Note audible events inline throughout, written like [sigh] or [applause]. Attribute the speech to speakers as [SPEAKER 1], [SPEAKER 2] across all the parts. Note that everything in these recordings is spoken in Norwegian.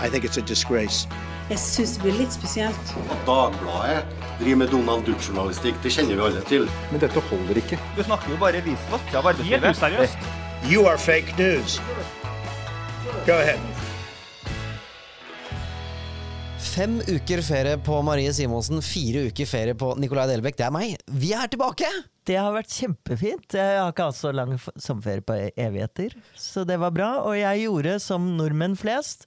[SPEAKER 1] I think it's a disgrace.
[SPEAKER 2] Jeg syns det blir litt spesielt.
[SPEAKER 3] At Dagbladet driver med Donald Duck-journalistikk, det kjenner vi alle til.
[SPEAKER 4] Men dette holder ikke.
[SPEAKER 5] Du snakker jo bare visvask av arbeidslivet.
[SPEAKER 6] Helt useriøst.
[SPEAKER 1] You are fake news. Go ahead.
[SPEAKER 7] Fem uker ferie på Marie Simonsen, fire uker ferie på Nicolai Delbekk. Det er meg. Vi er tilbake!
[SPEAKER 8] Det har vært kjempefint. Jeg har ikke hatt så lang f- sommerferie på e- evigheter, så det var bra. Og jeg gjorde som nordmenn flest.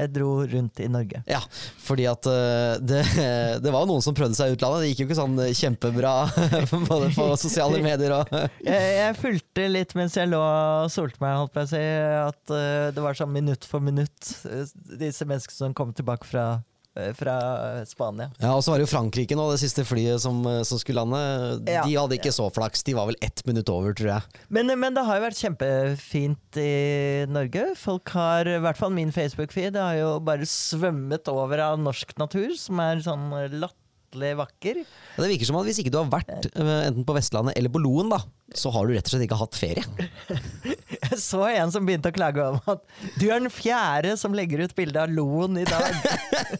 [SPEAKER 8] Jeg dro rundt i Norge.
[SPEAKER 7] Ja, fordi at eh, det, [laughs] det var jo noen som prøvde seg i utlandet. Det gikk jo ikke sånn eh, kjempebra [laughs] både på sosiale medier og [laughs]
[SPEAKER 8] Jeg, jeg fulgte litt mens jeg lå og solte meg, holdt på å si, at eh, det var sånn minutt for minutt, eh, disse menneskene som kom tilbake fra, eh, fra Spania.
[SPEAKER 7] Ja, Og så var det jo Frankrike nå, det siste flyet som, eh, som skulle lande.
[SPEAKER 8] Ja.
[SPEAKER 7] De hadde ikke så flaks. De var vel ett minutt over, tror jeg.
[SPEAKER 8] Men, men det har jo vært kjempefint i Norge. Folk har, i hvert fall min Facebook-feed, har jo bare svømmet over av norsk natur, som er sånn latterlig vakker.
[SPEAKER 7] Ja, Det virker som at hvis ikke du har vært eh, enten på Vestlandet eller på Loen, da, så har du rett og slett ikke hatt ferie.
[SPEAKER 8] Jeg [laughs] så en som begynte å klage om at du er den fjerde som legger ut bilde av Loen i dag.
[SPEAKER 7] [laughs]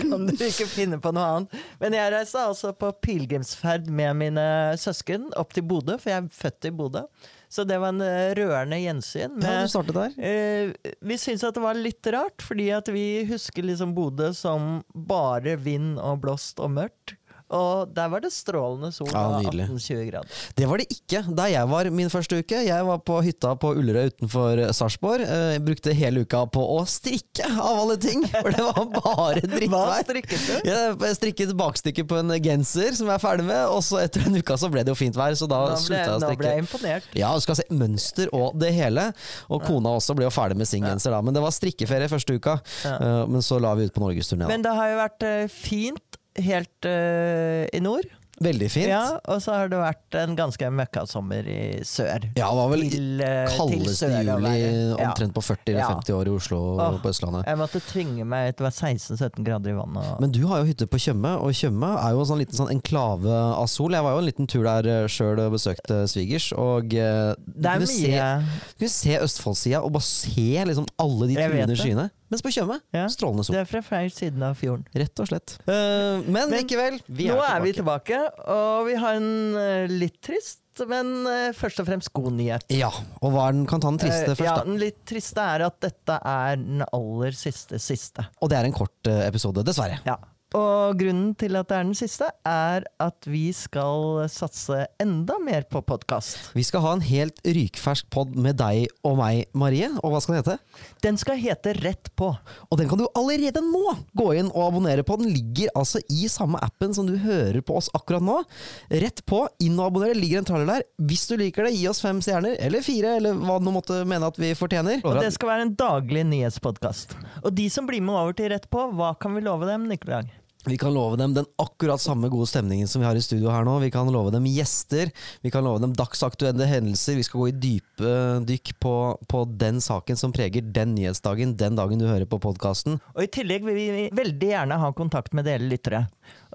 [SPEAKER 8] kan du ikke finne på noe annet? Men jeg reiste altså på pilegrimsferd med mine søsken opp til Bodø, for jeg er født i Bodø. Så det var en eh, rørende gjensyn.
[SPEAKER 7] Ja,
[SPEAKER 8] med-
[SPEAKER 7] du startet der.
[SPEAKER 8] Eh, vi syntes at det var litt rart, fordi at vi husker liksom Bodø som bare vind og blåst og mørkt. Og der var det strålende sol
[SPEAKER 7] Ja,
[SPEAKER 8] og
[SPEAKER 7] nydelig.
[SPEAKER 8] 18-20 grader.
[SPEAKER 7] Det var det ikke da jeg var min første uke. Jeg var på hytta på Ullerøy utenfor Sarpsborg. Eh, Jeg brukte hele uka på å strikke, av alle ting! For det var bare
[SPEAKER 8] Hva
[SPEAKER 7] drittvær.
[SPEAKER 8] strikket du?
[SPEAKER 7] Jeg strikket bakstykket på en genser som jeg er ferdig med, og så etter en uke så ble det jo fint vær, så da
[SPEAKER 8] Nå ble,
[SPEAKER 7] slutta jeg
[SPEAKER 8] nå
[SPEAKER 7] å
[SPEAKER 8] ble
[SPEAKER 7] strikke.
[SPEAKER 8] jeg imponert.
[SPEAKER 7] Ja, du skal se mønster og det hele. Og kona også ble jo ferdig med sin genser da, men det var strikkeferie første uka. Eh, Men så la vi ut på norgesturné. da.
[SPEAKER 8] Men det har jo vært eh, fint helt eh, i nord.
[SPEAKER 7] Veldig fint.
[SPEAKER 8] Ja, og så har det vært en ganske møkkasommer i sør.
[SPEAKER 7] Ja, det var vel
[SPEAKER 8] Til, eh, til
[SPEAKER 7] kaldeste
[SPEAKER 8] sør å
[SPEAKER 7] juli
[SPEAKER 8] være. Ja.
[SPEAKER 7] omtrent på 40 eller
[SPEAKER 8] Ja.
[SPEAKER 7] 50 år i Oslo og
[SPEAKER 8] Åh,
[SPEAKER 7] på Østlandet.
[SPEAKER 8] Jeg måtte tvinge meg til å være 16-17 grader i vannet. og-
[SPEAKER 7] Men du har jo hytte på Tjøme, og Tjøme er jo en sånn liten sånn enklave av sol. Jeg var jo en liten tur der eh, sjøl og besøkte svigers, og eh, du
[SPEAKER 8] det er
[SPEAKER 7] kunne se,
[SPEAKER 8] mye
[SPEAKER 7] du kunne se Østfoldsida og bare se liksom alle de
[SPEAKER 8] Jeg vet
[SPEAKER 7] truende
[SPEAKER 8] det.
[SPEAKER 7] skyene. Mens på Tjøme,
[SPEAKER 8] Ja.
[SPEAKER 7] strålende
[SPEAKER 8] Det
[SPEAKER 7] sol.
[SPEAKER 8] er fra feil siden av fjorden.
[SPEAKER 7] Rett og slett. Eh, men,
[SPEAKER 8] Men
[SPEAKER 7] likevel, vi
[SPEAKER 8] Nå
[SPEAKER 7] er
[SPEAKER 8] er vi
[SPEAKER 7] tilbake.
[SPEAKER 8] tilbake, og vi har en eh, litt trist, men eh, først og fremst god nyhet.
[SPEAKER 7] Ja, og hva er den kan ta den triste
[SPEAKER 8] Eh,
[SPEAKER 7] først,
[SPEAKER 8] ja,
[SPEAKER 7] da.
[SPEAKER 8] den litt triste er at dette er den aller siste siste.
[SPEAKER 7] Og det er en kort eh, episode, dessverre.
[SPEAKER 8] Ja. Og grunnen til at det er den siste, er at vi skal satse enda mer på podkast.
[SPEAKER 7] Vi skal ha en helt rykfersk pod med deg og meg, Marie. Og hva skal den hete?
[SPEAKER 8] Den skal hete Rett på.
[SPEAKER 7] Og den kan du allerede nå gå inn og abonnere på. Den ligger altså i samme appen som du hører på oss akkurat nå. Rett på, inn og abonnere, ligger en traller der. Hvis du liker det, gi oss fem stjerner, eller fire, eller hva du nå måtte mene at vi fortjener.
[SPEAKER 8] Og det skal være en daglig nyhetspodkast. Og de som blir med over til Rett på, hva kan vi love dem, Nikolai?
[SPEAKER 7] Vi kan love dem den akkurat samme gode stemningen som vi har i studio her nå. Vi kan love dem gjester, vi kan love dem dagsaktuelle hendelser. Vi skal gå i dype dykk på, på den saken som preger den nyhetsdagen, den dagen du hører på podkasten.
[SPEAKER 8] Og I tillegg vil vi veldig gjerne ha kontakt med dere lyttere.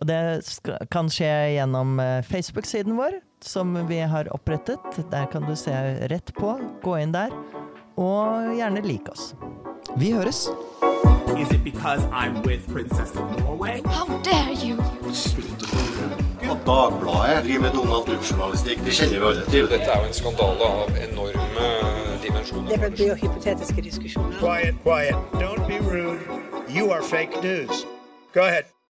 [SPEAKER 8] Og Det skal, kan skje gjennom eh, Facebook-siden vår, som vi har opprettet. Der kan du se rett på. Gå inn der. Og gjerne lik oss.
[SPEAKER 7] Vi høres!
[SPEAKER 6] Is it because I'm with Princess of Norway?
[SPEAKER 9] How dare you?
[SPEAKER 3] At Dagbladet driver med Donald Duck-journalistikk, det kjenner vi alle til.
[SPEAKER 4] Dette er jo en skandale av enorme
[SPEAKER 2] Det
[SPEAKER 4] dimensjoner.
[SPEAKER 2] blir jo hypotetiske diskusjoner.
[SPEAKER 1] Quiet, quiet. Don't be rude. You are fake news. Go ahead.